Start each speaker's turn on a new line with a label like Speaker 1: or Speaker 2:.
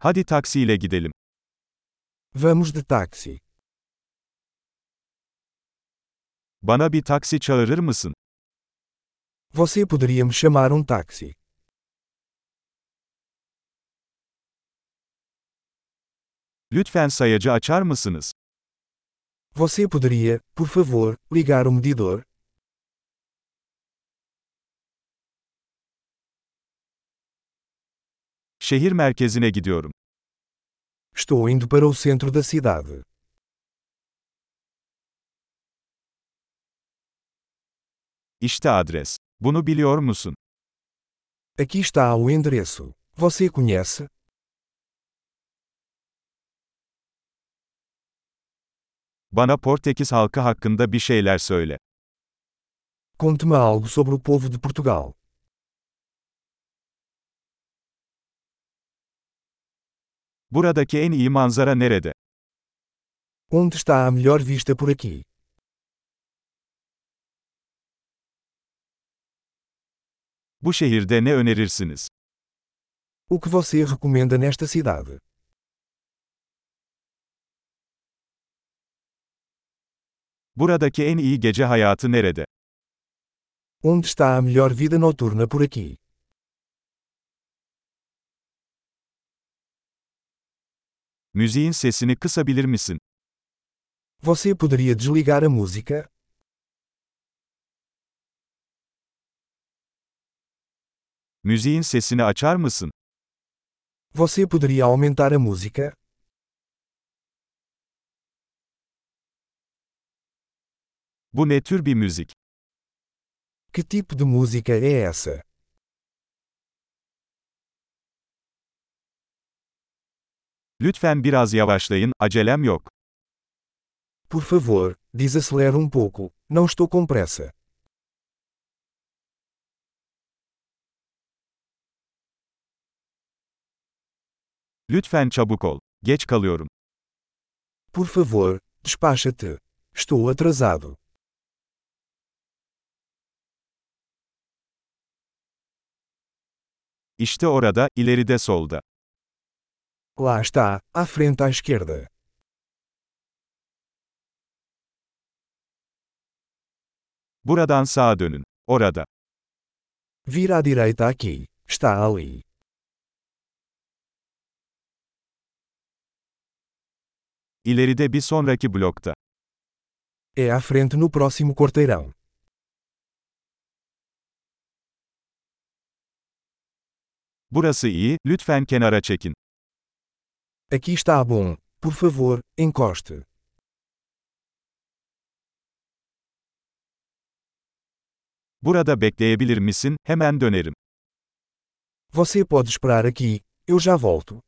Speaker 1: Hadi taksiyle gidelim.
Speaker 2: Vamos de táxi.
Speaker 1: Bana bir taksi çağırır mısın?
Speaker 2: Você poderia me chamar um táxi?
Speaker 1: Lütfen sayacı açar mısınız?
Speaker 2: Você poderia, por favor, ligar o medidor?
Speaker 1: Şehir merkezine gidiyorum.
Speaker 2: Estou indo para o centro da cidade.
Speaker 1: İşte adres. Bunu biliyor musun?
Speaker 2: Aqui está o endereço. Você conhece?
Speaker 1: Bana Portekiz halkı hakkında bir şeyler söyle.
Speaker 2: Conte-me algo sobre o povo de Portugal.
Speaker 1: Buradaki en iyi manzara nerede?
Speaker 2: Onde está a melhor vista por aqui?
Speaker 1: Bu şehirde ne önerirsiniz?
Speaker 2: O que você recomenda nesta cidade?
Speaker 1: Buradaki en iyi gece hayatı nerede?
Speaker 2: Onde está a melhor vida noturna por aqui?
Speaker 1: Müziğin sesini kısabilir misin?
Speaker 2: Você poderia desligar a música?
Speaker 1: Müziğin sesini açar mısın?
Speaker 2: Você poderia aumentar a música?
Speaker 1: Bu ne tür bir müzik?
Speaker 2: Que tipo de música é essa?
Speaker 1: Lütfen biraz yavaşlayın, acelem yok.
Speaker 2: Por favor, desacelere um pouco, não estou com pressa.
Speaker 1: Lütfen çabuk ol. Geç kalıyorum.
Speaker 2: Por favor, despacha-te. Estou atrasado.
Speaker 1: İşte orada, ileride solda.
Speaker 2: Lá está, à frente à esquerda.
Speaker 1: Buradan sağa dönün. Orada.
Speaker 2: Vira à direita aqui. Está ali.
Speaker 1: İleride bir sonraki blokta.
Speaker 2: É à frente no próximo quarteirão.
Speaker 1: Burası iyi, lütfen kenara çekin.
Speaker 2: Aqui está bom. Por favor, encoste.
Speaker 1: Burada bekleyebilir misin? Hemen dönerim.
Speaker 2: Você pode esperar aqui, eu já volto.